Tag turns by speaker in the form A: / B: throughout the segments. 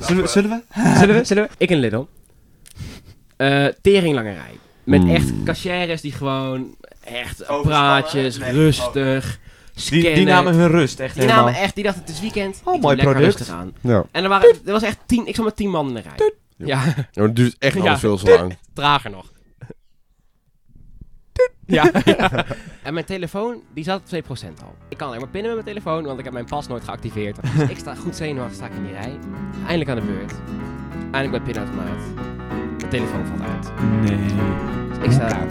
A: Zullen we? Zullen we?
B: Zullen we? Zullen we? Ik in Lidl. Eh teringlange rij. Met
A: Hmm.
C: Mm.
B: echt cashières die gewoon echt
A: Overspannen?
B: praatjes,
A: Nee,
B: rustig, scannen.
A: Die, die namen hun rust, echt
B: Die
A: helemaal.
B: namen echt, die dachten het is weekend.
A: Oh, mooi
B: ik doe lekker
A: product.
B: rustig aan.
C: Ja.
B: En er, waren, er was echt tien, ik zat met tien man in de rij. Ja,
C: Ja, maar het duurt echt alles
B: Ja.
C: veel te lang.
B: trager nog. Ja. En mijn telefoon, die zat op 2% al. Ik kan alleen maar pinnen met mijn telefoon, want ik heb mijn pas nooit geactiveerd. Dus ik sta goed zenuwachtig, sta ik in die rij. Eindelijk aan de beurt. Eindelijk bij pinautomaat. Mijn telefoon valt uit.
A: Nee.
B: Dus ik sta daar.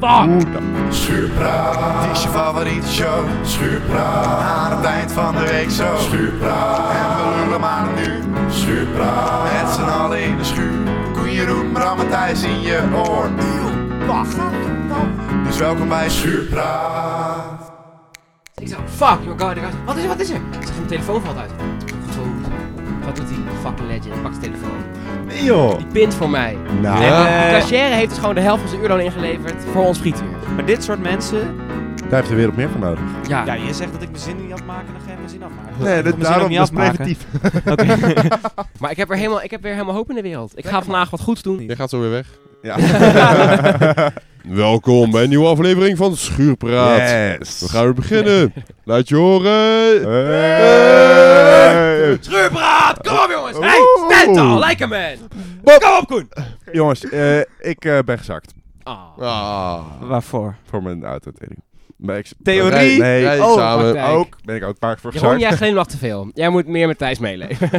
B: Fuck!
D: Schuurpraat. Het is je favoriete show. Schuurpraat. Aan het eind van de week zo. Schuurpraat. En we lullen maar nu. Schuurpraat. Met z'n allen in de schuur. Koen Jeroen, Bram en Thijs in je oor. Eeuw, wacht. Dus welkom bij Schuurpraat.
B: Ik zo, fuck, my god, ik had- wat is er, wat is er? Ik zeg, mijn telefoon valt uit. Goed. Wat doet die fucking legend? Ik pak zijn telefoon.
C: Nee joh.
B: Die pint voor mij.
C: Nou.
B: En
A: Ja.
B: de cashier heeft dus gewoon de helft van zijn uurloon ingeleverd voor ons frietuur.
A: Maar dit soort mensen...
C: Daar heeft de wereld meer van nodig.
B: Ja.
A: Ja, je zegt dat ik mijn zin niet afmaken, dan ga je mijn zin afmaken.
C: Nee,
A: dat-
C: dat,
A: moet daarom-
C: daarom
A: misschien ook
C: is
A: niet dat is
C: preventief.
A: Oké.
B: Maar ik heb, er helemaal, ik heb weer helemaal hoop in de wereld. Ik ga vandaag wat goeds doen.
E: Jij gaat zo weer weg.
C: Ja.
E: Welkom bij een nieuwe aflevering van Schuurpraat.
C: yes.
E: We gaan weer beginnen. Laat je horen.
C: Eh. Hey.
B: Schuurpraat! Kom op jongens!
C: Hey, Stental,
B: Like a man!
C: Bob.
B: Kom op Koen!
C: Jongens, eh, ik eh, ben gezakt
E: Ah.
A: Waarvoor?
C: voor mijn autotering. Mijn ex-
A: Theorie.
C: Nee,
E: Rij-
C: oh,
E: rijexamen.
B: praktijk.
C: ook. Ben ik ook een paar keer voor
B: Jeroen,
C: gezakt.
B: jij glimlacht te veel. Jij moet meer met Thijs meeleven.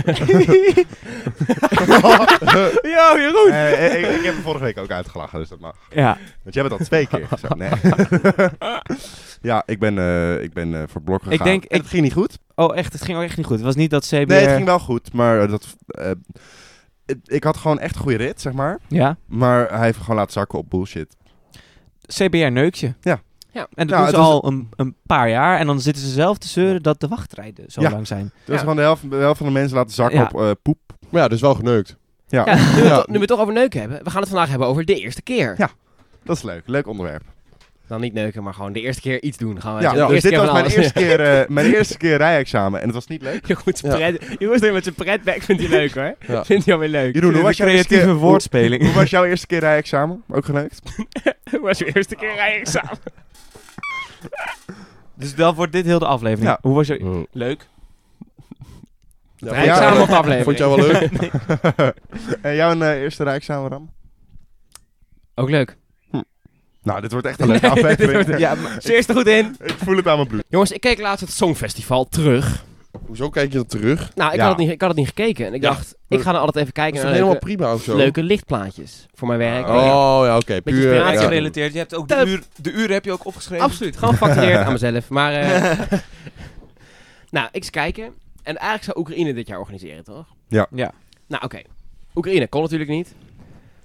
A: Yo, Jeroen!
C: Eh, eh, ik, ik heb hem vorige week ook uitgelachen, dus dat mag.
A: Ja.
C: Want jij bent al twee keer gezakt. Nee. ja, ik ben, eh, ik ben eh, voor blok gegaan.
A: denk-
C: En het
A: ik-
C: ging niet goed.
A: Oh, echt, het ging ook echt niet goed. Het was niet dat CBR...
C: Nee, het ging wel goed, maar eh, dat... eh, het- ik had gewoon echt een goede rit, zeg maar.
A: Ja.
C: Maar hij heeft me gewoon laten zakken op bullshit.
A: CBR neukje.
C: Ja.
B: Ja.
A: En dat
C: Nou,
A: doen
C: het
A: ze
C: was-
A: al een, een paar jaar. En dan zitten ze zelf te zeuren dat de wachtrijden zo
C: Ja.
A: lang zijn.
C: Dus gewoon de helft, de helft van de mensen laten zakken
A: Ja.
C: op eh, poep.
E: Maar ja, dus wel geneukt.
C: Ja,
B: Ja, nu, we
E: Ja.
B: het- nu we het toch over neuken hebben, we gaan het vandaag hebben over de eerste keer.
C: Ja. dat is leuk. Leuk onderwerp.
B: Dan niet neuken, maar gewoon de eerste keer iets doen. Gewoon,
C: Ja,
B: weet je, de
C: dus
B: eerste
C: dit
B: keer
C: was
B: van
C: mijn
B: alles.
C: eerste keer, eh, mijn eerste keer rijexamen en het was niet leuk.
B: Jeroen, zijn pret, Jeroen is er met zijn pretback vindt hij leuk hoor.
E: Ja.
B: Vindt hij alweer leuk.
C: Jeroen, hoe was, jouw eerste keer, hoe,
A: woordspeling.
C: hoe was jouw eerste keer rijexamen? Ook geneukt?
B: Hoe was je eerste keer rijexamen?
A: Dus dat wordt dit heel de aflevering.
C: Ja.
A: Hoe was je...
E: Ja,
A: Leuk.
E: vond jij-
B: Rijexamen op de
E: Vond
B: aflevering.
E: jij wel leuk?
C: en jouw eh, eerste rijexamen, Ram?
B: Ook leuk.
C: Nou, dit wordt echt een leuke aflevering.
A: Ja, maar-
B: Ze is er goed in.
C: Ik voel het aan mijn bloed.
B: Jongens, ik keek laatst het Songfestival terug.
E: Hoezo kijk je dan terug?
B: Nou, ik,
C: Ja.
B: had het niet, ik had het niet gekeken. En ik
E: Ja.
B: dacht, ik ga dan altijd even
E: Dat is
B: kijken naar
E: toch helemaal
B: nou, leuke,
E: prima of zo?
B: leuke lichtplaatjes voor mijn werk.
E: Oh ja, oké. Puur.
B: inspiratie
E: ja.
B: gerelateerd.
F: Je hebt ook
B: de
F: uur, de uren heb je ook opgeschreven.
B: Absoluut, gewoon factureerd aan mezelf. Maar, eh, nou, ik eens kijken. En eigenlijk zou Oekraïne dit jaar organiseren, toch?
C: Ja.
A: Ja.
B: Nou, oké. Oekraïne kon natuurlijk niet.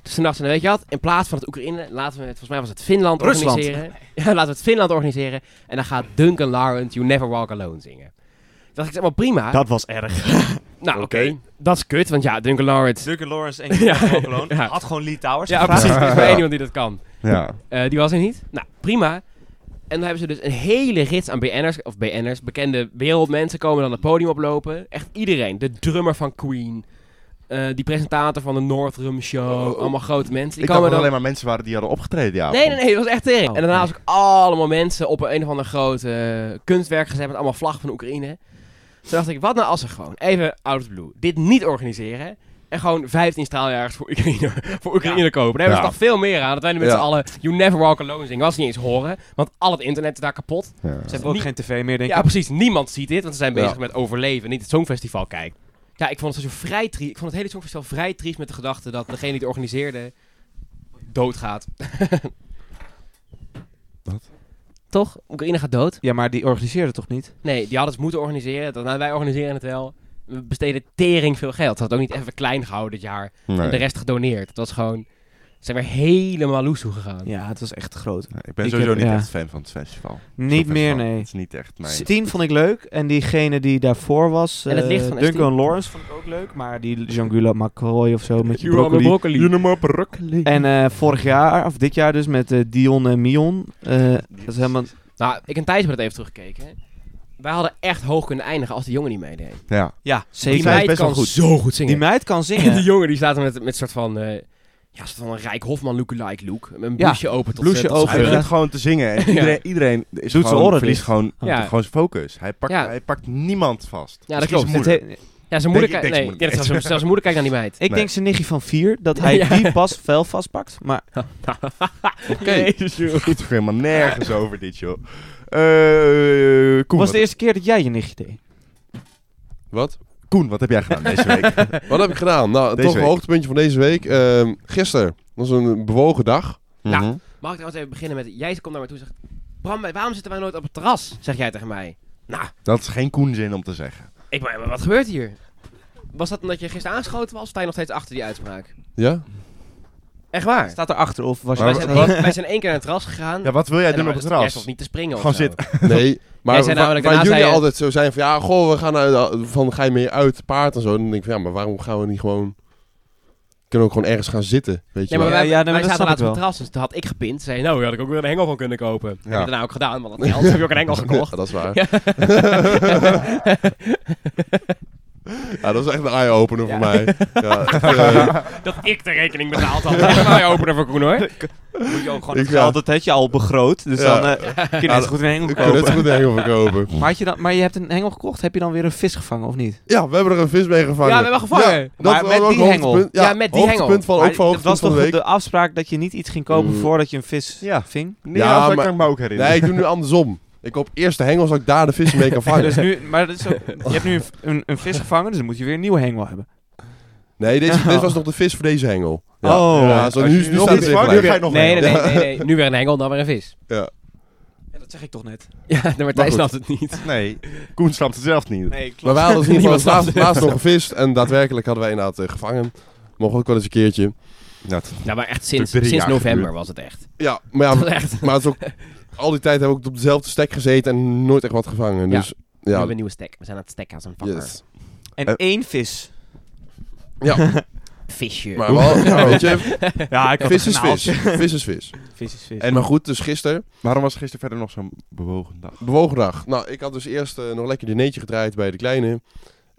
B: Dus toen dachten ze, weet je wat, in plaats van het Oekraïne, laten we het, volgens mij was het Finland
F: Rusland.
B: organiseren. Ja, laten we het Finland organiseren. En dan gaat Duncan Lawrence You Never Walk Alone zingen. Toen dacht ik, zeg maar prima.
A: Dat was erg.
B: nou, oké. Dat is kut, want ja, Duncan Lawrence.
F: Duncan Lawrence en
B: Ja.
F: Jeroen Alone
B: Ja.
F: had gewoon Lee Towers
B: Ja,
F: gevraagd.
B: precies. Er is maar één iemand die dat kan.
C: Ja.
B: Eh, die was er niet. Nou, prima. En dan hebben ze dus een hele rits aan BN'ers, of BN'ers, bekende wereldmensen komen dan het podium oplopen. Echt iedereen. De drummer van Queen, eh, die presentator van de Northrum Show,
C: Oh, oh.
B: allemaal grote mensen.
C: Ik
B: Die
C: dacht
B: komen
C: dat
B: dan...
C: alleen maar mensen waren die hadden opgetreden, ja.
B: Nee, nee, nee, dat was echt tering.
A: Oh,
B: en daarna was ook allemaal mensen op een, een of ander grote eh, kunstwerk gezet met allemaal vlag van Oekraïne. Toen dacht ik, wat nou als ze gewoon even out of the blue dit niet organiseren en gewoon 15 straaljagers voor Oekraïne, voor Oekraïne kopen. Daar hebben ze
C: Ja.
B: toch veel meer aan. Dat wij nu met
E: Ja.
B: z'n allen You Never Walk Alone zingen. Was ze niet eens horen, want al het internet is daar kapot.
C: Ja.
A: Ze hebben ook
B: Niet-
A: geen tv meer, denk ik.
B: Ja, precies. Niemand ziet dit, want ze zijn
E: Ja.
B: bezig met overleven, niet het Songfestival kijken. Ja, ik vond het zo vrij triest. Ik vond het hele Songfestival vrij triest met de gedachte dat degene die het organiseerde doodgaat.
C: Wat?
B: Toch? Oekraïne gaat dood?
A: Ja, maar die organiseerde toch niet?
B: Nee, die hadden het moeten organiseren. Daarna wij organiseren het wel. We besteden tering veel geld. Ze hadden het ook niet even klein gehouden dit jaar. En de
C: Nee.
B: rest gedoneerd. Het was gewoon... Ze zijn weer helemaal loesoe gegaan.
A: Ja, het was echt groot.
C: Nee, Ik ben
A: Ik
C: sowieso
A: heb-
C: niet
A: ja.
C: echt fan van het festival.
A: Niet
C: Zo'n
A: meer,
C: festival.
A: nee.
C: Het is niet echt mijn...
A: Steen vond ik leuk. En diegene die daarvoor was,
B: En het
A: eh,
B: licht van
A: Duncan
B: Steen.
A: Lawrence vond ik ook leuk. Maar die Jean-Gula McCoy of zo met je
B: Jura
A: broccoli.
B: broccoli.
A: En eh, vorig jaar, of dit jaar dus, met eh, Dion en Mion. eh, dat is helemaal...
B: Nou, ik en Thijs hebben het even teruggekeken. Wij hadden echt hoog kunnen eindigen als die jongen niet meedeed.
C: Ja.
A: Ja,
B: Die
A: zeker.
C: meid
B: meid
C: best wel
B: kan
C: goed.
B: zo goed
A: Die
B: zingen.
A: meid kan
B: En die
A: zingen.
B: jongen die staat er met, met een soort van... eh, ja, een soort van een Rijk Hofman lookalike look. Met een
A: Ja,
B: blouseje open tot
A: blouseje
B: eh, tot
C: Hij
A: open.
C: begint gewoon te zingen. En iedereen, iedereen is
A: zijn
C: gewoon,
A: oren
C: verliest
A: dicht.
C: gewoon,
B: Ja.
C: gewoon zijn focus. Hij pakt,
B: Ja.
C: hij pakt niemand vast.
B: Ja, dat
C: Misschien zijn
B: klopt.
A: Het
C: moeder.
A: he-
B: Ja, zijn
C: Denk
B: moeder
C: ik- denk
B: kijkt...
C: zijn
B: Nee,
C: moeder.
B: ja, dat is zelfs- zelfs zijn moeder kijkt naar die meid.
A: ik
C: Nee.
A: denk zijn nichtje van vier dat hij
B: Ja.
A: die pas fel vastpakt. Maar
B: Jezus, joh.
C: Het gaat toch helemaal nergens over dit, joh. Eh, Koen,
A: was
C: wat,
A: de eerste keer dat jij je nichtje deed?
E: Wat?
C: Koen, wat heb jij gedaan deze week?
E: Wat heb ik gedaan? Nou,
C: Deze
E: toch een
C: week.
E: hoogtepuntje van deze week. Ehm gisteren. Dat was een bewogen dag.
B: Ja.
C: Mhm.
B: Mag ik trouwens even beginnen met... Jij komt naar me toe en zegt... Bram, wij- waarom zitten wij nooit op het terras? Zeg jij tegen mij. Nou,
C: Dat is geen Koenzin om te zeggen.
B: ik, ben- wat gebeurt hier? Was dat omdat je gisteren aangeschoten was? Of sta je nog steeds achter die uitspraak?
E: Ja?
B: Echt waar?
A: Staat erachter of was
C: Maar
B: Wij
A: je...
B: zijn, wij zijn één keer naar het terras gegaan.
C: Ja, wat wil jij
B: En
C: doen
B: dan
C: op het
B: was- jij
C: terras?
B: stond niet te springen of
C: Gewoon
B: zo.
C: zitten.
E: Nee. Maar
B: zei namelijk
E: waar,
B: daarna,
E: waar jullie
B: zei je-
E: altijd zo zijn van... Ja, goh, we gaan naar, de- van, ga je mee uit, paard en zo. Dan denk ik van, ja, maar waarom gaan we niet gewoon... Kunnen we ook gewoon ergens gaan zitten, weet je
B: Ja, maar
E: wel.
A: Ja,
B: wij,
A: ja, nee, maar
B: wij
A: dat snap
B: zaten
A: ik
B: laatst op
A: wel.
B: het terras, dus toen had ik gepind. Zei je, nou, daar had ik ook weer een hengel van kunnen kopen. Heb ik
C: Ja.
B: dat nou ook gedaan, want dat geld. heb je ook een hengel gekocht.
E: Ja, dat is waar. Ja, dat was echt een eye-opener
B: Ja.
E: voor mij. Ja, echt, eh,
B: dat ik de rekening betaald had. Echt waar, je openen voor Koen, hoor.
F: Moet je ook gewoon...
E: ik,
A: Ja.
E: ja,
A: Dat had je al begroot, dus
E: Ja.
A: dan eh kun je net zo goed een hengel
E: ik kan net
A: kopen.
E: zo goed een hengel verkopen.
A: Maar, had je dan, maar je hebt een hengel gekocht, heb je dan weer een vis gevangen of niet?
E: Ja, we hebben er een vis mee gevangen.
B: Ja, we hebben gevangen.
E: Ja, dat
A: Maar
E: was
A: met
E: ook
A: die
E: hoogtepunt.
A: hengel.
E: Ja,
B: Ja, met die
E: hoogtepunt
B: hengel.
E: Van, ook van
A: dat was
E: hoogtepunt van
A: toch
E: de
A: de,
E: week.
A: afspraak dat je niet iets ging kopen
E: Mm.
A: voordat je een vis
C: Ja.
A: ving?
C: Nee,
E: Ja,
C: ja, dat
E: maar-
C: kan ik me ook herinneren.
E: Nee, ik doe nu andersom. Ik koop eerst de hengel, zodat ik daar de vis mee kan vangen.
A: Dus nu, maar dat is ook- je hebt nu een, een, een vis gevangen, dus dan moet je weer een nieuwe hengel hebben.
E: Nee, dit, dit was nog de vis voor deze hengel. Ja.
A: Oh.
E: ja, zo,
C: Als
E: nu,
C: je
E: nu
C: nog
E: staat het
C: iets
E: weer
C: vangt,
E: gelijk.
C: dan ga je nog
B: Nee, nee,
C: wel.
B: nee, nee, nee. Nu weer een hengel, dan weer een vis.
A: dat zeg ik toch net.
B: Ja, maar Martijn
E: goed.
B: snapt het niet.
C: Nee, Koen snapt het zelf niet.
A: Nee, klopt.
E: Maar wij hadden in ieder
A: Niemand
E: geval laatst,
A: snapt
E: laatst nog gevist. En daadwerkelijk hadden wij inderdaad eh, gevangen. Mogen ook wel eens een keertje.
C: Dat-
B: Nou, maar echt sinds,
C: drie
B: sinds
C: jaar
B: november
C: geduurd.
B: was het echt.
E: Ja, maar, Ah, ja,
B: Dat was echt.
E: maar het is ook, al die tijd hebben we ook op dezelfde stek gezeten en nooit echt wat gevangen.
B: Ja.
E: Dus
B: We
E: ja,
B: hebben een nieuwe stek. We zijn aan het stekken als een vakker.
E: yes.
A: En
C: Eh.
A: één vis.
E: ja
B: Visje.
E: maar wel, ja, weet je,
A: Ja, ik
E: vis is vis. Vis is vis.
A: Vis is vis.
E: En maar goed, dus gisteren,
C: Waarom was gisteren verder nog zo'n bewogen dag?
E: bewogen dag. Nou, ik had dus eerst eh, nog lekker dinertje gedraaid bij de kleine.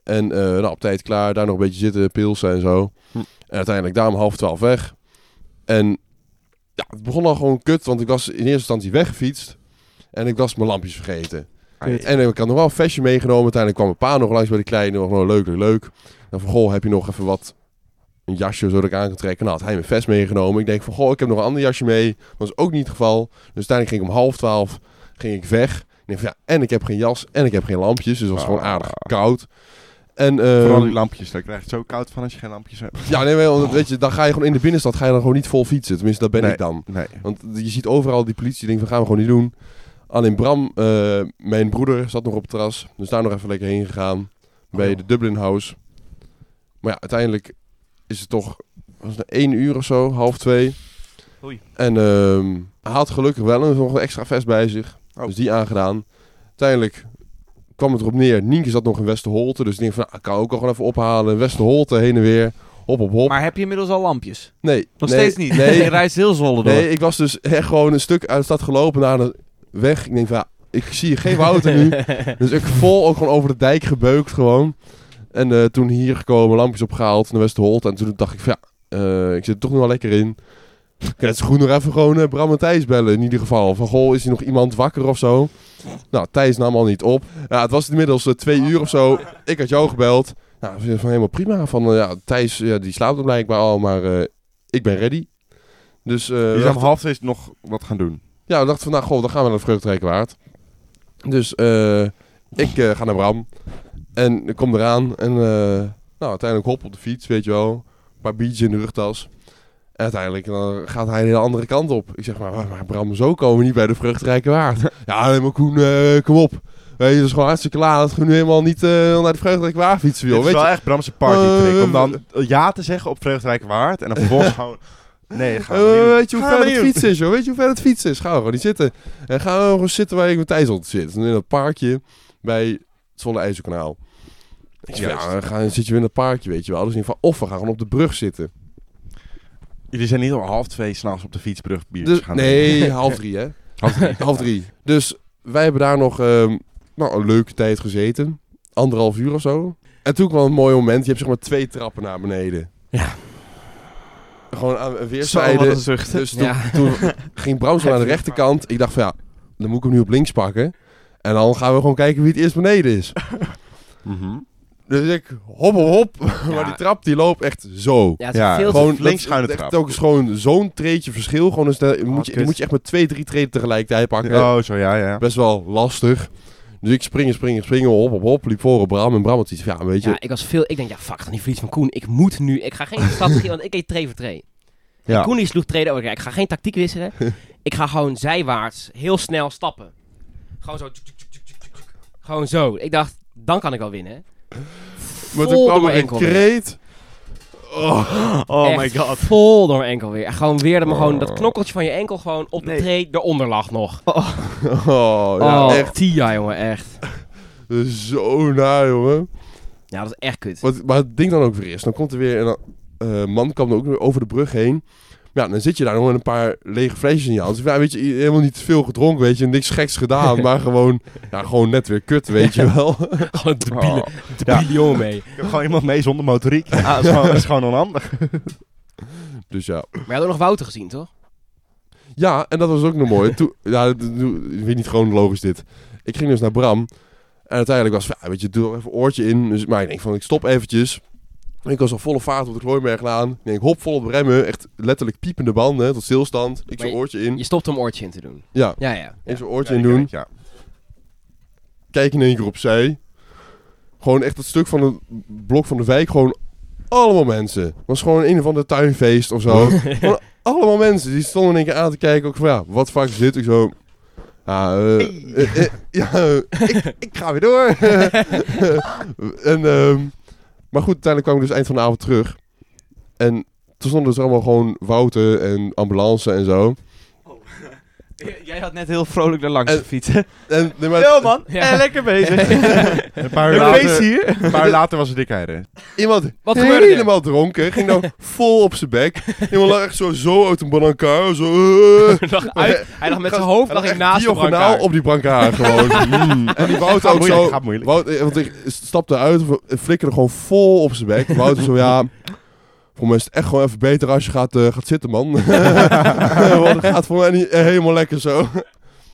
E: En eh nou, op tijd klaar, daar nog een beetje zitten, pilsen en zo.
C: Hm.
E: En uiteindelijk daar om half twaalf weg. En ja, het begon al gewoon kut, want ik was in eerste instantie weggefietst. En ik was mijn lampjes vergeten.
A: Kut.
E: En ik had nog wel een vestje meegenomen. Uiteindelijk kwam mijn pa nog langs bij de kleine. Nog, nou, leuk, leuk, leuk. En van, goh, heb je nog even wat... Een jasje zodat ik aan kan trekken. Nou, had hij mijn vest meegenomen. Ik denk van, goh, ik heb nog een ander jasje mee. Dat was ook niet het geval. Dus uiteindelijk ging ik om half twaalf ging ik weg. Ik denk van, ja, en ik heb geen jas en ik heb geen lampjes. Dus het was gewoon aardig koud. En, eh,
C: Ah. Vooral die lampjes, daar krijg je het zo koud van als je geen lampjes hebt.
E: ja, nee, maar, want weet je, dan ga je gewoon in de binnenstad ga je dan gewoon niet vol fietsen. Tenminste, dat ben
C: Nee.
E: ik dan.
C: Nee.
E: Want je ziet overal die politie, die denkt van gaan we gewoon niet doen. Alleen Bram, eh, mijn broeder, zat nog op het terras. Dus daar nog even lekker heen gegaan. Bij
A: Oh.
E: de Dublin House. Maar ja, uiteindelijk is het toch... Was het nou één uur of zo, half twee.
A: Oei.
E: En ehm, hij had gelukkig wel een, nog een extra vest bij zich.
C: Oh.
E: Dus die aangedaan. Uiteindelijk kwam het erop neer. Nienke zat nog in Westerholte. Dus ik denk van, nou, ik kan ook al gewoon even ophalen. Westerholte, heen en weer. Hop, hop, hop.
A: Maar heb je inmiddels al lampjes?
E: nee.
A: Nog
E: nee,
A: steeds niet.
E: Nee,
A: je reist heel Zwolle door.
E: Nee, ik was dus echt gewoon een stuk uit de stad gelopen naar de weg. Ik denk van, ja, ik zie hier geen Wouter nu. Dus ik vol ook gewoon over de dijk gebeukt gewoon. En eh, toen hier gekomen, lampjes opgehaald naar Westerholt. En toen dacht ik van, ja, eh, ik zit er toch nog wel lekker in. Ik kan het zo goed nog even gewoon eh, Bram en Thijs bellen in ieder geval. Van, goh, is hier nog iemand wakker of zo? Nou, Thijs nam al niet op. Ja, het was inmiddels eh, twee uur of zo. Ik had jou gebeld. Nou, ik vind van helemaal prima. Van, eh, ja, Thijs, ja, die slaapt blijkbaar al, maar eh, ik ben ready. Dus, eh, we
C: Je zou
E: dachten-
C: om half twee nog wat gaan doen.
E: ja, we dachten van, nou, goh, dan gaan we naar de vreugdrekenwaard. Dus eh, ik eh, ga naar Bram. En ik kom eraan. En eh, nou, uiteindelijk hop op de fiets, weet je wel. Een paar biertjes in de rugtas. En uiteindelijk dan gaat hij de hele andere kant op. Ik zeg, maar, maar, maar Bram, zo komen we niet bij de vreugdrekenwaard. ja, nee, maar Koen, eh, kom op. Weet je, dat is gewoon hartstikke laat. Dat we nu helemaal niet eh, naar de vreugdrekenwaard fietsen,
C: Dit
E: joh.
C: is
E: Weet
C: wel
E: je?
C: echt Bramse partytrick.
E: Eh,
C: om dan ja te zeggen op Vreugdrijk Waard. En dan vervolgens gewoon... Nee, gaan we
E: Eh,
C: niet doen.
E: weet je hoe
C: Gaan
E: ver
C: we
E: het
C: niet doen.
E: fietsen is, joh? Weet je hoe ver het fietsen is? Gaan we gewoon niet zitten. En gaan we gewoon zitten waar ik met Thijs altijd zit. In dat parkje bij het Zwolle IJzerkanaal. Ik zeg,
C: Juist.
E: ja, dan gaan, zit je weer in dat parkje, weet je wel. Dus in ieder geval, of we gaan gewoon op de brug zitten.
C: Jullie zijn niet om half twee s'nachts op de fietsbrug biertjes
E: Dus,
C: gaan drinken.
E: nee, half drie, hè?
C: Half drie.
E: Half drie. Dus wij hebben daar nog ehm, nou, een leuke tijd gezeten. Anderhalf uur of zo. En toen kwam een mooi moment. Je hebt zeg maar twee trappen naar beneden.
A: Ja.
E: Gewoon aan
F: Zo, wat
E: weerszijden.
F: een zucht.
E: Dus toen,
B: Ja.
E: toen ging Bramson aan de rechterkant. Ik dacht van ja, dan moet ik hem nu op links pakken. En dan gaan we gewoon kijken wie het eerst beneden is. Dus ik hop hop hop. Maar die trap die loopt echt zo.
B: Ja, het is
C: Ja,
B: veel te...
E: Gewoon
C: links schuine
E: dat is echt
C: trap.
E: ook eens gewoon zo'n treetje verschil. Gewoon dus daar moet je, die
C: kut.
E: moet je echt met twee, drie treden tegelijkertijd pakken.
C: Oh, zo ja, ja.
E: Best wel lastig. Dus ik springen, springen, springen, hop, hop, hop. Liep voor op Bram en Bram had iets. van, Ja, weet je.
B: Ja, ik was veel... Ik denk, ja, fuck, dan die verlies van Koen. Ik moet nu... Ik ga geen strategie... want ik deed tree voor tree.
C: Ja.
B: Koen die sloeg treden over. Ik ga geen tactiek wisselen. ik ga gewoon zijwaarts heel snel stappen. Gewoon zo. tjuk, tjuk, tjuk, tjuk, tjuk, tjuk. Gewoon zo. Ik dacht, dan kan ik wel winnen.
E: Maar
B: Vol
E: toen kwam
B: door
E: er
B: mijn
E: een
B: enkel weer.
E: kreet.
F: Oh
B: Echt
F: my god.
B: Vol door mijn enkel weer. En Gewoon weer dat, me
E: Oh.
B: gewoon, dat knokkeltje van je enkel gewoon op de
F: Nee.
B: tree eronder lag nog. Oh,
E: Oh, ja, echt
B: Tia, jongen, echt.
E: zo naar, jongen.
B: Ja, dat is echt kut.
E: Wat, maar het ding dan ook weer is, dan komt er weer een eh, man kwam er ook weer over de brug heen. Maar Ja, dan zit je daar nog met een paar lege flesjes in je hand. Dus ja, weet je, helemaal niet veel gedronken, weet je. Niks geks gedaan, maar gewoon, ja, gewoon net weer kut, weet je wel.
B: Gewoon
C: Oh.
B: debiele, debiele jongen mee.
C: Ik heb gewoon iemand mee zonder motoriek. Ja, dat, is gewoon, dat is gewoon onhandig.
E: Dus ja.
B: Maar je had ook nog Wouter gezien, toch?
E: Ja, en dat was ook nog mooi. Toen, ja, d- d- ik weet niet gewoon logisch dit. Ik ging dus naar Bram. En uiteindelijk was van, ja, weet je, doe er even een oortje in. Dus, maar ik denk van, ik stop eventjes. En ik was al volle vaart op de Glooimerglaan. Ik denk, hop, vol op remmen. Echt letterlijk piepende banden, tot stilstand. Ik
B: Maar
E: zo'n
B: je-
E: oortje in.
B: Je stopte om oortje in te doen.
E: Hm? Ja,
B: Ja, ja.
E: ik zo'n oortje in doen.
C: Ja.
E: Kijk in één keer opzij. Gewoon echt dat stuk van het blok van de wijk, gewoon allemaal mensen. Het was gewoon een of ander tuinfeest of zo. Gewoon allemaal mensen. Die stonden in één keer aan te kijken. Ook van, ja, wat vaak zit ik zo... Ja, eh, eh, eh, ja eh, ik, ik ga weer door. en, ehm, maar goed, uiteindelijk kwam ik dus eind van de avond terug. En toen stonden dus allemaal gewoon Wouter en ambulance en zo.
F: J- Jij had net heel vrolijk daar langs
E: Eh,
F: gefietst. hè?
E: En, nee, maar-
F: Yo man,
B: Ja.
F: eh, lekker bezig.
C: Een paar uur
F: Een feest
C: later,
F: hier.
C: een paar uur later was het dik rijden.
E: Iemand
B: Wat gebeurde er?
E: helemaal dronken. Ging nou vol op zijn bek. Iemand lag echt zo, zo uit een brancard. Zo, eh.
B: Lag uit, hij lag met zijn hoofd lag
E: Echt
B: ik naast de
E: diagonaal
B: brancard.
E: op die brancard gewoon. Mm. En die Wouter
C: Gaat
E: ook
C: moeilijk,
E: zo...
C: gaat moeilijk.
E: Wout, eh, want ik stapte uit en flikkerde gewoon vol op zijn bek. Wouter zo, ja... Voor mij is het echt gewoon even beter als je gaat, eh, gaat zitten, man. Want het gaat voor mij niet eh, helemaal lekker zo.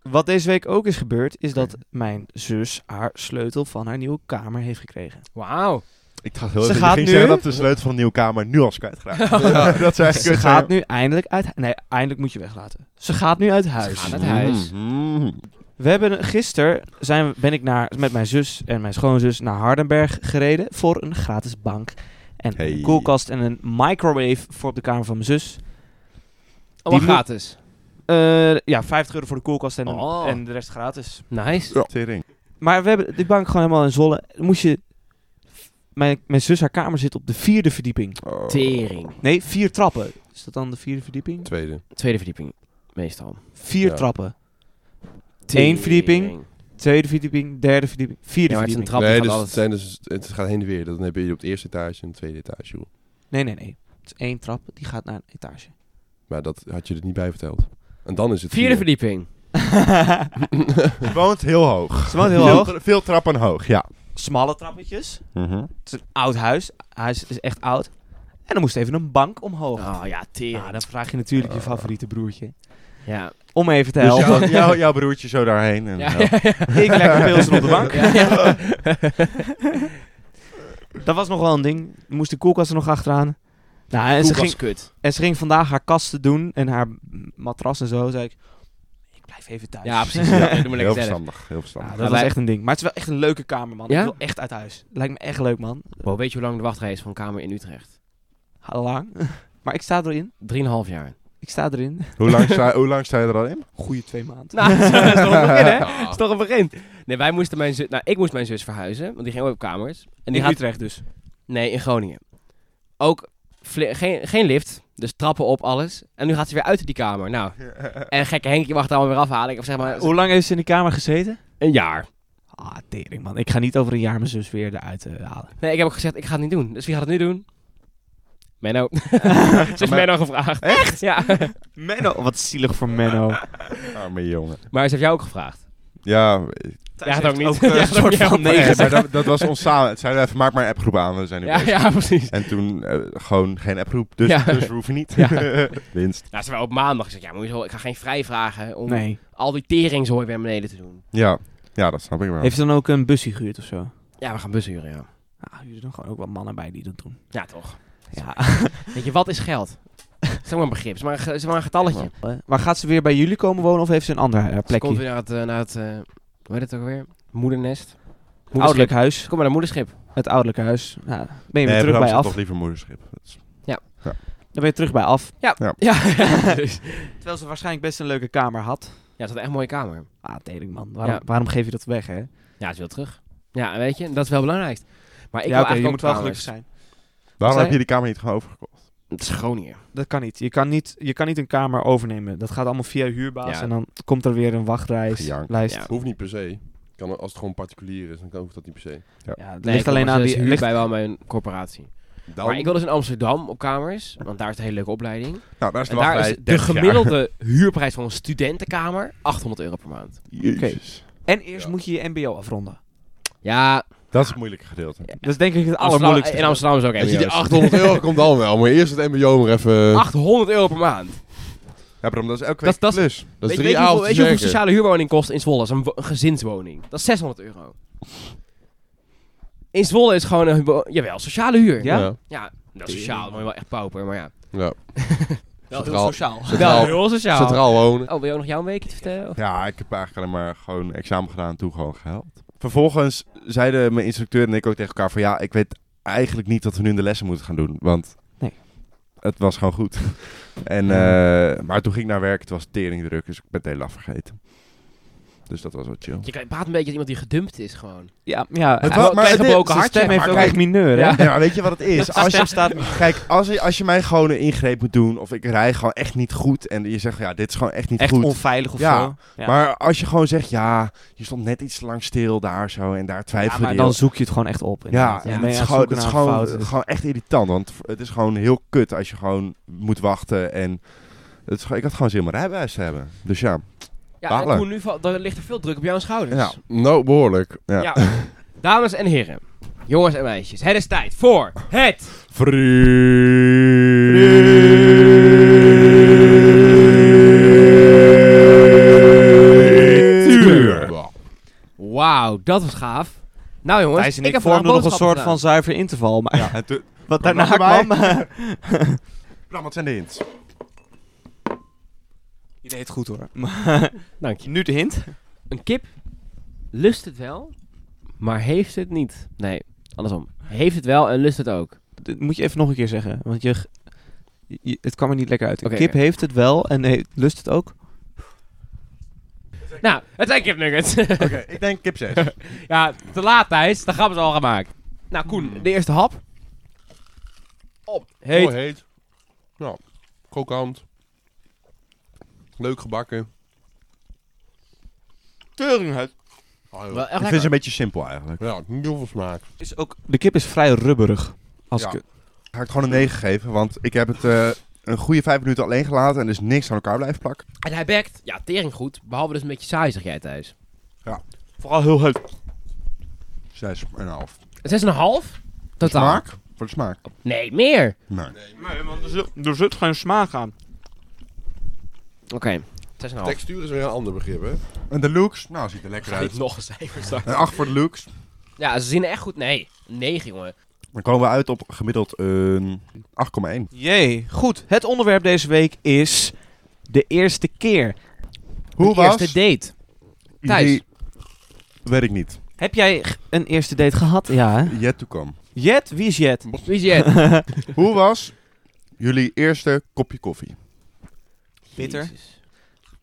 A: Wat deze week ook is gebeurd, is dat mijn zus haar sleutel van haar nieuwe kamer heeft gekregen.
B: Wauw.
C: Ik dacht heel
A: Ze
C: even, je
A: gaat
C: ging
A: nu-
C: zeggen dat de sleutel van de nieuwe kamer nu al is kwijtgeraakt.
E: Ja.
C: dat zei ik
A: Ze gaat nu eindelijk uit... Nee, eindelijk moet je weglaten. Ze gaat nu uit huis.
B: gaat uit huis.
C: Mm-hmm.
A: We hebben gisteren zijn, we- ben ik naar, met mijn zus en mijn schoonzus naar Hardenberg gereden voor een gratis bank. En
C: Hey.
A: een koelkast en een microwave voor op de kamer van mijn zus.
B: Allemaal
A: moet-
B: gratis.
A: Eh, ja, 50 euro voor de koelkast en,
B: Oh.
A: en de rest gratis.
B: Nice.
C: Tering.
A: Maar we hebben die bank gewoon helemaal in Zwolle. Moest je... Mijn, mijn zus, haar kamer zit op de vierde verdieping.
B: Tering.
A: Nee, vier trappen. Is dat dan de vierde verdieping?
E: Tweede.
B: Tweede verdieping, meestal.
A: Vier
E: Ja.
A: trappen. Eén verdieping, tweede verdieping, derde verdieping, vierde
B: Ja, maar het is een
A: verdieping.
B: trap. die
E: nee,
B: gaat
E: dus het,
B: altijd-
E: zijn dus het gaat heen en weer. Dan heb je op de eerste etage en de tweede etage. joh.
A: Nee, nee, nee. Het is één trap, die gaat naar een etage.
E: Maar dat had je er niet bij verteld. En dan is het
B: Vierde
E: vier.
B: verdieping.
C: Je woont heel hoog.
A: Ze woont heel hoog.
C: Veel, veel trappen hoog, ja.
A: Smalle trappetjes.
C: Mm-hmm.
A: Het is een oud huis. Huis is echt oud. En er moest even een bank omhoog.
B: Oh ja, tering.
A: Ja, dan Ah, vraag je natuurlijk je favoriete broertje.
B: Ja.
A: Om even te
C: Dus
A: helpen.
C: jou, jou- jouw broertje zo daarheen. En,
B: Ja,
C: ja.
B: ja, ja.
A: ik lekker pilsen op de bank.
B: Ja, ja.
A: Dat was nog wel een ding. Er moest de koelkast er nog achteraan. Nou, en, ze
B: Koelkast
A: ging,
B: is kut.
A: en ze ging vandaag haar kasten doen en haar m- matras en zo. zei ik, ik blijf even thuis.
B: Ja, precies. Ja, doe maar
C: Heel
B: lekker zelf.
C: verstandig, heel verstandig.
A: Ja,
B: Maar
A: dat was
B: wij-
A: echt een ding. Maar het is wel echt een leuke kamer, man.
B: Ja?
A: Ik wil echt uit huis. Lijkt me echt leuk, man.
B: Wow, weet je hoe lang de wachtrij is van een kamer in Utrecht?
A: Lang. Maar ik sta erin.
B: 3,5 jaar.
A: Ik sta erin.
C: Hoe, lang sta, hoe lang sta je er al in?
A: Goeie twee maanden.
B: Nou, dat is toch een begin, hè? Dat is toch een begin. Nee, wij moesten mijn zus... Nou, ik moest mijn zus verhuizen, want die ging ook op kamers. En die gaat...
A: Utrecht dus.
B: Nee, in Groningen. Ook fli- geen, geen lift, dus trappen op, alles. En nu gaat ze weer uit die kamer. Nou, en gekke Henkje mag het allemaal weer afhalen. Of zeg maar,
A: Hoe lang heeft ze in de kamer gezeten?
B: een jaar.
A: Ah, tering, man. Ik ga niet over een jaar mijn zus weer eruit eh, halen.
B: Nee, ik heb ook gezegd, ik ga het niet doen. Dus wie gaat het nu doen? Menno. Ze heeft
C: Maar-
B: Menno gevraagd. Echt? Ja.
A: Menno, wat zielig voor Menno.
C: Arme jongen.
B: Maar ze heeft jou ook gevraagd.
C: Ja,
B: Ja, dat ook niet.
A: eh,
B: Ja,
A: een
B: dat ook
A: soort
B: niet.
A: van
B: Ja,
A: negen.
C: Nee, maar dat, dat was ons samen. Het zeiden we even, maak maar een appgroep aan. We zijn nu
B: Ja,
C: bezig.
B: ja, precies.
C: En toen eh, gewoon geen appgroep. Dus,
B: Ja.
C: dus we hoeven niet.
B: Ja.
C: Winst.
B: Nou, ze waren op maandag. Ik zeg, ja, maar hoezo? ik ga geen vrij vragen om
A: Nee.
B: al die teringzooi weer naar beneden te doen.
C: Ja. ja, dat snap ik wel.
A: Heeft ze dan ook een busje gehuurd of zo?
B: Ja, we gaan bus huren, ja.
A: Nou, hier zijn gewoon ook wel mannen bij die dat doen.
B: Ja, toch.
A: Ja.
B: Weet je, wat is geld? Het is maar een begrip, het is maar een, ge- het is maar een getalletje.
A: maar gaat ze weer bij jullie komen wonen of heeft ze een ander eh,
B: Ze komt
A: plekje?
B: weer naar het, eh, naar het eh, hoe heet het ook weer? Moedernest.
A: Ouderlijk huis.
B: Kom maar naar moederschip.
A: Het ouderlijk huis. Nou, ben je weer
C: Nee,
A: terug
C: Bram
A: bij
C: zat
A: af.
C: toch liever moederschip. Dat is-
A: Dan ben je terug bij af.
B: Ja, dus.
A: Terwijl ze waarschijnlijk best een leuke kamer had.
B: ja het is echt een mooie kamer.
A: Ah, tering man. Waarom,
B: Ja.
A: waarom geef je dat weg, hè?
B: Ja, het is wel terug. Ja, weet je, dat is wel belangrijk. Maar ik
A: ja,
B: wil
A: oké, je
B: eigenlijk
A: moet
B: ook
A: wel gelukkig
B: kamers.
A: zijn.
C: Waarom
A: zei
C: heb je die kamer niet gewoon overgekocht?
B: Het is Groningen.
A: Dat kan niet. Je kan niet, je kan niet een kamer overnemen. Dat gaat allemaal via huurbaas
B: Ja.
A: en dan komt er weer een wachtlijst.
C: Gejank.
A: Lijst.
B: Ja.
A: Ja.
E: Hoeft niet per se. Kan, als het gewoon particulier is, dan kan- hoeft dat niet per se.
A: het
B: Nee,
A: ligt
B: ik
A: alleen
B: kom
A: aan
B: als
A: die...
B: huur
A: ligt-
B: bij wel mijn corporatie.
E: Dan-
B: Maar ik wil dus in Amsterdam op kamers, want daar is een hele leuke opleiding.
C: Nou, daar is de
B: En daar is
C: wachtlijst
B: de
C: 30 jaar.
B: gemiddelde huurprijs van een studentenkamer 800 euro per maand.
C: Jezus.
A: En eerst
E: Ja.
A: moet je je mbo afronden.
B: Ja,
C: Dat is het moeilijke gedeelte.
A: Dat is denk ik het
B: Amsterdam,
A: allermoeilijkste.
B: in Amsterdam is ook
E: Weet je, die
B: MBO's.
E: 800 euro komt dan wel. Maar eerst het mbo maar even...
B: 800 euro per maand.
C: Ja, Bram, dat is elke
B: Dat-
C: week
B: dat is-
C: plus.
E: dat
B: weet, je-
E: is
B: weet
E: drie
B: je hoeveel,
E: avond
B: weet je hoeveel sociale huurwoning kost in Zwolle? Dat is een, wo- een gezinswoning. Dat is 600 euro. In Zwolle is gewoon een... wo- Jawel, sociale huur.
A: Ja?
E: Ja.
B: Ja, dat is sociaal. Dan word je wel echt pauper, maar ja.
E: ja.
B: Wel heel
E: Centraal-
B: sociaal.
E: centraal-
B: Wel heel sociaal.
E: Centraal wonen.
B: Oh, wil je ook nog jouw weekje vertellen?
C: Ja, ik heb eigenlijk alleen maar gewoon examen gedaan en toen gewoon gehaald. Vervolgens zeiden mijn instructeur en ik ook tegen elkaar van... Ja, ik weet eigenlijk niet wat we nu in de lessen moeten gaan doen. Want
A: Nee.
C: het was gewoon goed. En, eh, maar toen ging ik naar werk, het was teringdruk, dus ik ben het heel afgegeten. Dus dat was wel chill.
B: Je k- praat een beetje als iemand die gedumpt is gewoon.
A: Ja, ja.
C: Het
A: Het
B: Ja,
C: wa-
B: wel-
C: maar
B: krijg
C: het
B: een
C: is-
B: broken
A: zijn
B: hartje,
A: stem heeft
C: maar
A: ook
C: kijk-
A: echt mineur, hè?
B: Ja.
C: Ja, maar weet je wat het is? Als je,
A: staat...
C: kijk, als je, als je mij gewoon een ingreep moet doen of ik rij gewoon echt niet goed en je zegt, ja, dit is gewoon echt niet
A: Echt
C: goed.
A: onveilig of
C: Ja,
A: zo. Ja.
C: Maar als je gewoon zegt, ja, je stond net iets te lang stil daar zo en daar
A: Ja,
C: twijfel
A: maar
C: je.
A: dan
C: heel-
A: zoek je het gewoon echt op.
C: ja,
A: inderdaad.
C: en
A: Dan ben
C: dat
A: je
C: is,
A: aan het
C: gewoon,
A: zoeken
C: dat is
A: naar een
C: gewoon,
A: fout. Dus-
C: gewoon echt irritant, want het is gewoon heel kut als je gewoon moet wachten en... Het is, gewoon- ik had gewoon zin om mijn rijbewijs te hebben. Dus ja,
B: Ja, en
C: Balen.
B: Koen, nu val- daar ligt er veel druk op jouw schouders.
C: Ja.
E: Nou, behoorlijk.
C: Ja.
B: Ja. Dames en heren, jongens en meisjes, het is tijd voor het...
C: Tuur.
B: Wauw, dat was gaaf. Nou jongens,
A: Thijs en ik,
B: heb
A: vormden
B: vandaag
A: nog een soort
B: boodschappen
A: van zuiver interval. Maar
C: Ja, en toen...
A: wat
C: Kwam
A: daarna
C: dat erbij?
A: kwam...
C: Bram, wat zijn de hints?
A: Je deed het goed hoor.
B: gedaan. Dank je.
A: nu de hint.
B: Een kip lust het wel, maar heeft het niet. Nee, andersom. Heeft het wel en lust het ook.
A: Dit moet je even nog een keer zeggen. Want je, g- je- het kwam er niet lekker uit. Een
B: Oké,
A: kip
B: oké.
A: heeft het wel en he- lust het ook.
B: Nou, het zijn kipnuggets.
C: Oké, ik denk kip 6.
B: ja, te laat Thijs, de grap is al gemaakt. Nou Koen, de eerste hap. Op.
E: Heet.
B: Heet.
E: Mooi heet. Ja. Krokant. Leuk gebakken.
A: Teringheid.
E: Ah, joh.
B: Wel echt
C: Ik vind ze
B: lekker.
C: een beetje simpel eigenlijk.
E: Ja, niet heel veel smaak.
A: Is ook, de kip is vrij rubberig. Als
E: Ja.
A: ik,
C: Ga ik gewoon een 9 geven, want ik heb het eh, een goede 5 minuten alleen gelaten en dus niks aan elkaar blijven plakken.
B: En hij bekt, ja, tering goed, behalve dus een beetje saai zeg jij Thijs.
C: Vooral heel heet. 6,5. Voor
B: Zes en een half?
C: de
B: Totaal.
C: smaak? Voor de smaak?
B: Nee, meer.
C: Nee.
A: Nee, want er zit, geen smaak aan.
B: Oké, zes en een half.
E: Textuur is weer een ander begrip, hè?
C: En de looks? Nou, ziet er lekker uit.
B: Niet nog een cijfer straks.
C: Een 8 voor de looks.
B: Ja, ze zien er echt goed. Nee, negen jongen.
C: Dan komen we uit op gemiddeld een 8,1.
A: Jee, goed. Het onderwerp deze week is de eerste keer.
C: Hoe
B: de
C: was
B: eerste date. Thijs.
C: jullie- Weet ik niet.
A: Heb jij g- een eerste date gehad? Ja. hè?
C: Yet to come.
A: Jet, wie is Jet?
B: Wie is Jet?
C: Hoe was jullie eerste kopje koffie?
A: Bitter.
B: Jezus.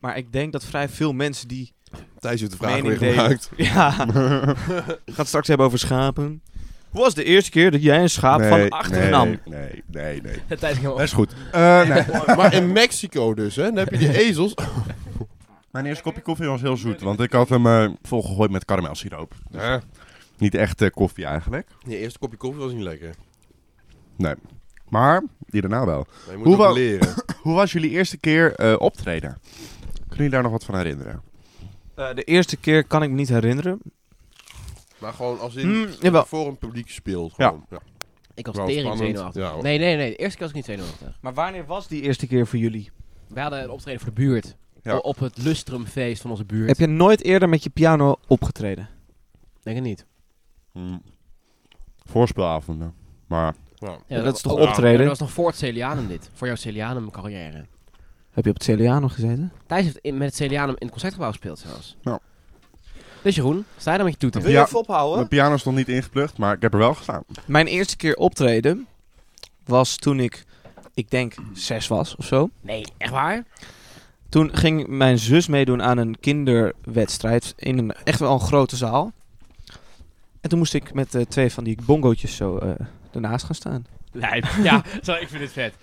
A: Maar ik denk dat vrij veel mensen die...
E: Thijs heeft de vraag
A: Mening
E: weer
A: delen.
E: gemaakt.
A: Ja. Gaat het straks hebben over schapen. Hoe was de eerste keer dat jij een schaap van achteren
C: nee,
A: nam?
C: Nee, nee, nee.
B: Thijs ging
C: Dat
B: wel-
C: is goed. Eh, nee.
E: maar in Mexico dus, hè? Dan heb je die ezels.
C: Mijn eerste kopje koffie was heel zoet, want ik had hem eh, volgegooid met karamelsiroop.
E: Ja.
C: Niet echt eh, koffie eigenlijk.
E: Je eerste kopje koffie was niet lekker.
C: Maar die daarna wel.
E: Maar je moet
C: Hoe
E: ook
C: wou-
E: leren.
C: Hoe was jullie eerste keer eh, optreden? Kunnen jullie daar nog wat van herinneren?
A: Eh, de eerste keer kan ik me niet herinneren.
E: Maar gewoon als in
A: Mm, jawel.
E: voor een publiek speelt.
C: Ja.
E: Gewoon. Hmm, Ja.
B: Ik was
E: Wel
B: tering
E: spannend.
B: zenuwachtig.
E: Ja, hoor.
B: nee, nee, nee. De eerste keer was ik niet zenuwachtig.
A: Maar wanneer was die eerste keer voor jullie?
B: We hadden een optreden voor de buurt.
C: Ja.
B: O- Op het lustrumfeest van onze buurt.
A: Heb je nooit eerder met je piano opgetreden?
B: Denk het niet.
C: Mm. Voorspelavonden. Maar
B: Ja,
A: dat is toch
B: oh,
A: optreden?
B: ja, Dat was nog voor het Celianum dit. Voor jouw Celianum carrière.
A: Heb je op het Celiano gezeten?
B: Thijs heeft in- met het Celianum in het Concertgebouw gespeeld zelfs.
C: Ja.
B: Dus Jeroen, sta je dan met je toeter?
C: Wil je Ja. even
A: ophouden?
C: mijn piano stond niet ingeplucht, maar ik heb er wel gestaan.
A: Mijn eerste keer optreden was toen ik, ik denk, zes was of zo.
B: Nee, echt waar?
A: Toen ging mijn zus meedoen aan een kinderwedstrijd in een echt wel een grote zaal. En toen moest ik met eh, twee van die bongootjes zo eh, ernaast gaan staan.
B: Lijp. Ja, zo, ik vind het vet.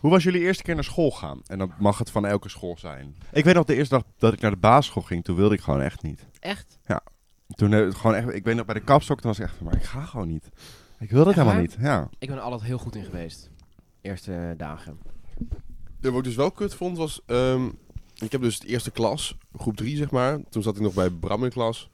C: Hoe was jullie eerste keer naar school gaan? En dan mag het van elke school zijn. Ik weet nog de eerste dag dat ik naar de basisschool ging, toen wilde ik gewoon echt niet.
B: Echt?
C: Toen eh, gewoon echt, ik weet nog bij de kapstok, toen was ik echt van, maar ik ga gewoon niet. Ik wil dat
B: Echt
C: helemaal niet. Ja.
B: Ik ben er altijd heel goed in geweest. Eerste eh, dagen.
E: Ja, wat ik dus wel kut vond was... ehm, ik heb dus de eerste klas, groep 3 zeg maar. Toen zat ik nog bij Bram in klas.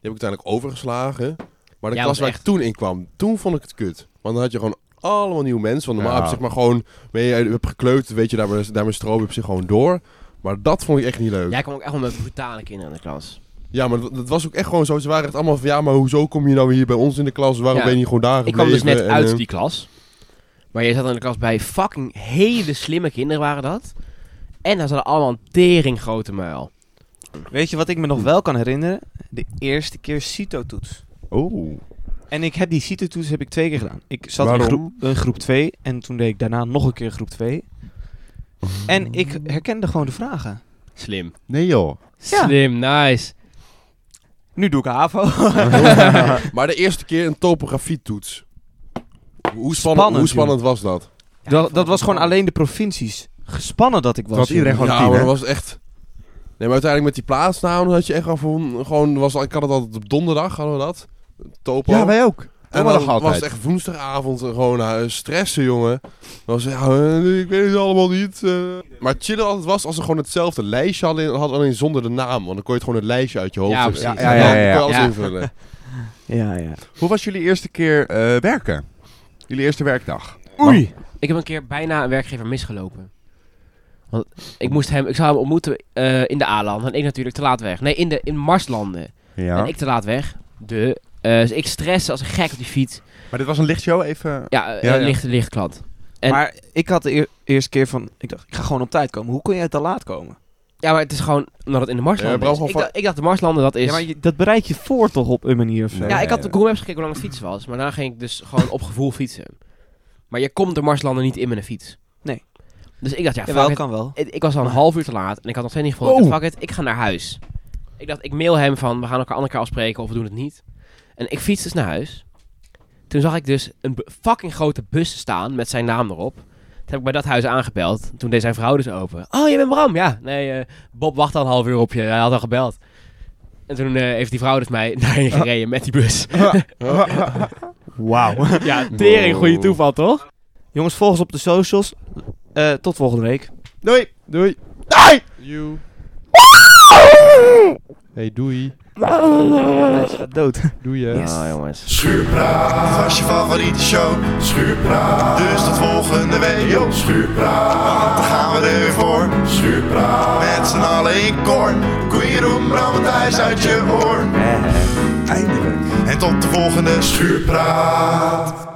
E: Die heb ik uiteindelijk overgeslagen. Maar de
B: Ja, want
E: klas waar ik toen in kwam, toen vond ik het kut. Want dan had je gewoon allemaal nieuwe mensen. Want normaal
C: Ja.
E: heb je zeg maar gewoon... Ben je, je hebt gekleut, weet je, daarmee, daarmee stroom je op zich gewoon door. Maar dat vond ik echt niet leuk. Ja,
B: Jij kwam ook echt wel met brutale kinderen in de klas.
E: maar dat, dat was ook echt gewoon zo. Ze waren echt allemaal van... Ja, maar hoezo kom je nou hier bij ons in de klas? Waarom
B: Ja.
E: ben je niet gewoon daar
B: Ik kwam dus net
E: gebleven? En,
B: uit
E: eh,
B: die klas. Maar jij zat in de klas bij fucking hele slimme kinderen waren dat. En daar zaten allemaal een tering grote muil.
A: Weet je wat ik me nog wel kan herinneren? De eerste keer CITO-toets.
C: Oeh.
A: En ik heb die CITO-toets heb ik twee keer gedaan. Ik zat in
C: Waarom?
A: groep, in groep 2 en toen deed ik daarna nog een keer groep 2. En ik herkende gewoon de vragen.
B: Slim.
C: Nee joh.
A: Ja.
B: Slim, nice.
A: Nu doe ik HAVO.
E: maar de eerste keer een topografietoets. Hoe spannend,
A: Spannend,
E: hoe spannend was dat?
A: dat, dat was gewoon alleen de provincies. Gespannen dat ik was.
C: Dat iedereen gewoon
E: ja,
C: tien,
E: maar
C: hè?
E: dat was echt... Nee, maar uiteindelijk met die plaatsnamen had je echt al van... Gewoon, was, ik had het altijd op donderdag, hadden we dat. Topo.
C: Ja, wij ook.
E: en
C: hadden
E: dan
C: we altijd.
E: was het echt woensdagavond eh, gewoon eh, stressen, jongen. Dan was het, ja, eh, ik weet het allemaal niet. eh. Maar chillen altijd was als ze gewoon hetzelfde lijstje hadden, hadden alleen zonder de naam. Want dan kon je het gewoon het lijstje uit je hoofd.
B: Ja,
E: eh,
B: precies.
E: en
C: Ja, ja,
E: dan
C: ja, ja.
E: kon je alles
B: Ja.
E: invullen.
A: Ja, ja.
C: Hoe was jullie eerste keer eh, werken? Jullie eerste werkdag?
A: Oei.
B: Ik heb een keer bijna een werkgever misgelopen. Want ik moest hem, ik zou hem ontmoeten eh, in de A-landen. En ik natuurlijk te laat weg. Nee, in de in Marslanden.
C: Ja.
B: En ik te laat weg. De, eh, dus ik stress als een gek op die fiets.
C: Maar dit was een lichtshow even...
B: Ja, eh,
C: Ja, ja.
B: lichte lichtklant. En-
A: maar ik had de eer- eerste keer van... Ik dacht, ik ga gewoon op tijd komen. Hoe kon jij te laat komen?
B: Ja, maar het is gewoon omdat het in de
E: Ja,
B: Marslanden
E: Bram
B: is.
E: gewoon
B: Ik,
E: van-
B: dacht, ik dacht de Marslanden, dat is...
A: Ja, maar je- dat bereid je voor toch op een manier of zo?
C: Nee.
B: Ja, ik had op Google Maps gekeken hoe lang het fietsen was. Maar daarna ging ik dus gewoon op gevoel fietsen. Maar je komt de Marslanden niet in met een fiets.
A: Nee.
B: Dus ik dacht, ja, fuck
A: Jawel,
B: it.
A: kan wel.
B: Ik, ik was al een half uur te laat. En ik had nog steeds niet gevonden. Ik dacht, Fuck it, ik ga naar huis. Ik dacht, ik mail hem van, we gaan elkaar andere keer afspreken of we doen het niet. En ik fiets dus naar huis. Toen zag ik dus een bu- fucking grote bus staan met zijn naam erop. Toen heb ik bij dat huis aangebeld. Toen deed zijn vrouw dus open. Oh, je bent Bram? Ja. Nee, eh, Bob wacht al een half uur op je. Hij had al gebeld. En toen eh, heeft die vrouw dus mij daarheen gereden met die bus.
A: Wauw.
B: Ja, tering goede toeval, toch?
A: Jongens, volg ons op de socials. Eh, tot volgende week.
C: Doei!
E: doei. You. Hey, doei.
A: Dood.
E: Doei, hè.
B: Ja, jongens.
D: Schuurpraat was je favoriete show. Schuurpraat, dus tot volgende week. Yo, schuurpraat, want dan gaan we er weer voor. Schuurpraat, met z'n allen in koor. Koeien, roem, bram en thuis uit je oor. Eindelijk. En tot de volgende schuurpraat.